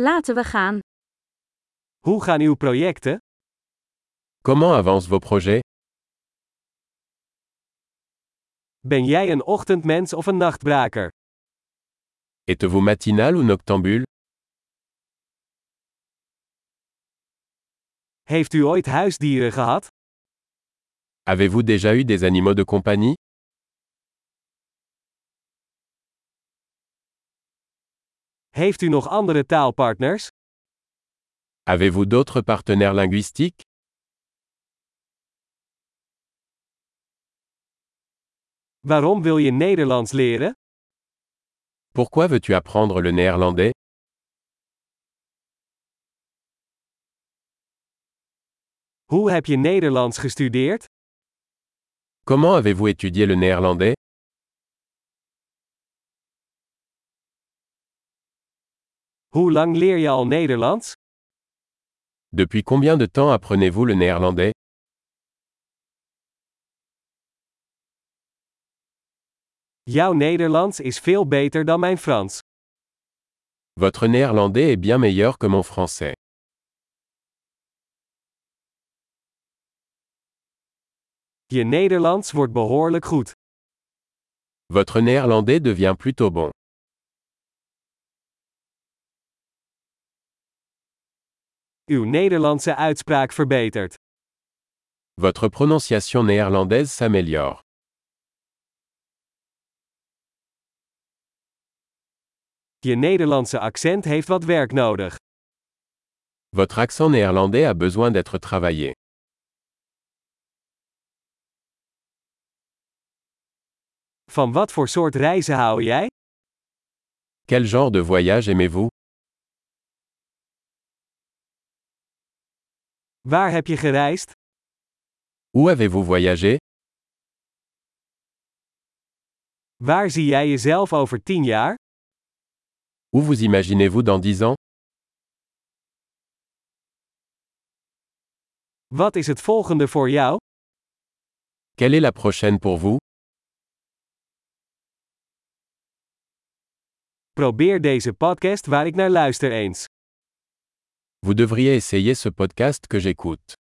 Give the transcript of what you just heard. Laten we gaan. Hoe gaan uw projecten? Comment avancent vos projets Ben jij een ochtendmens of een nachtbraker? Êtes-vous matinal ou noctambule Heeft u ooit huisdieren gehad? Avez-vous déjà eu des animaux de compagnie Heeft u nog andere taalpartners? Avez-vous d'autres partenaires linguistiques Waarom wil je Nederlands leren? Pourquoi veux-tu apprendre le néerlandais Hoe heb je Nederlands gestudeerd? Comment avez-vous étudié le néerlandais Hoe lang leer je al Nederlands? Depuis combien de temps apprenez-vous le néerlandais Jouw Nederlands is veel beter dan mijn Frans. Votre néerlandais est bien meilleur que mon français. Je Nederlands wordt behoorlijk goed. Votre néerlandais devient plutôt bon. Uw Nederlandse uitspraak verbetert. Votre prononciation néerlandaise s'améliore. Je Nederlandse accent heeft wat werk nodig. Votre accent néerlandais a besoin d'être travaillé. Van wat voor soort reizen hou jij? Quel genre de voyage aimez-vous Waar heb je gereisd? Où avez-vous voyagé Waar zie jij jezelf over 10 jaar? Où vous imaginez-vous dans 10 ans Wat is het volgende voor jou? Quelle est la prochaine pour vous Probeer deze podcast waar ik naar luister eens. Vous devriez essayer ce podcast que j'écoute.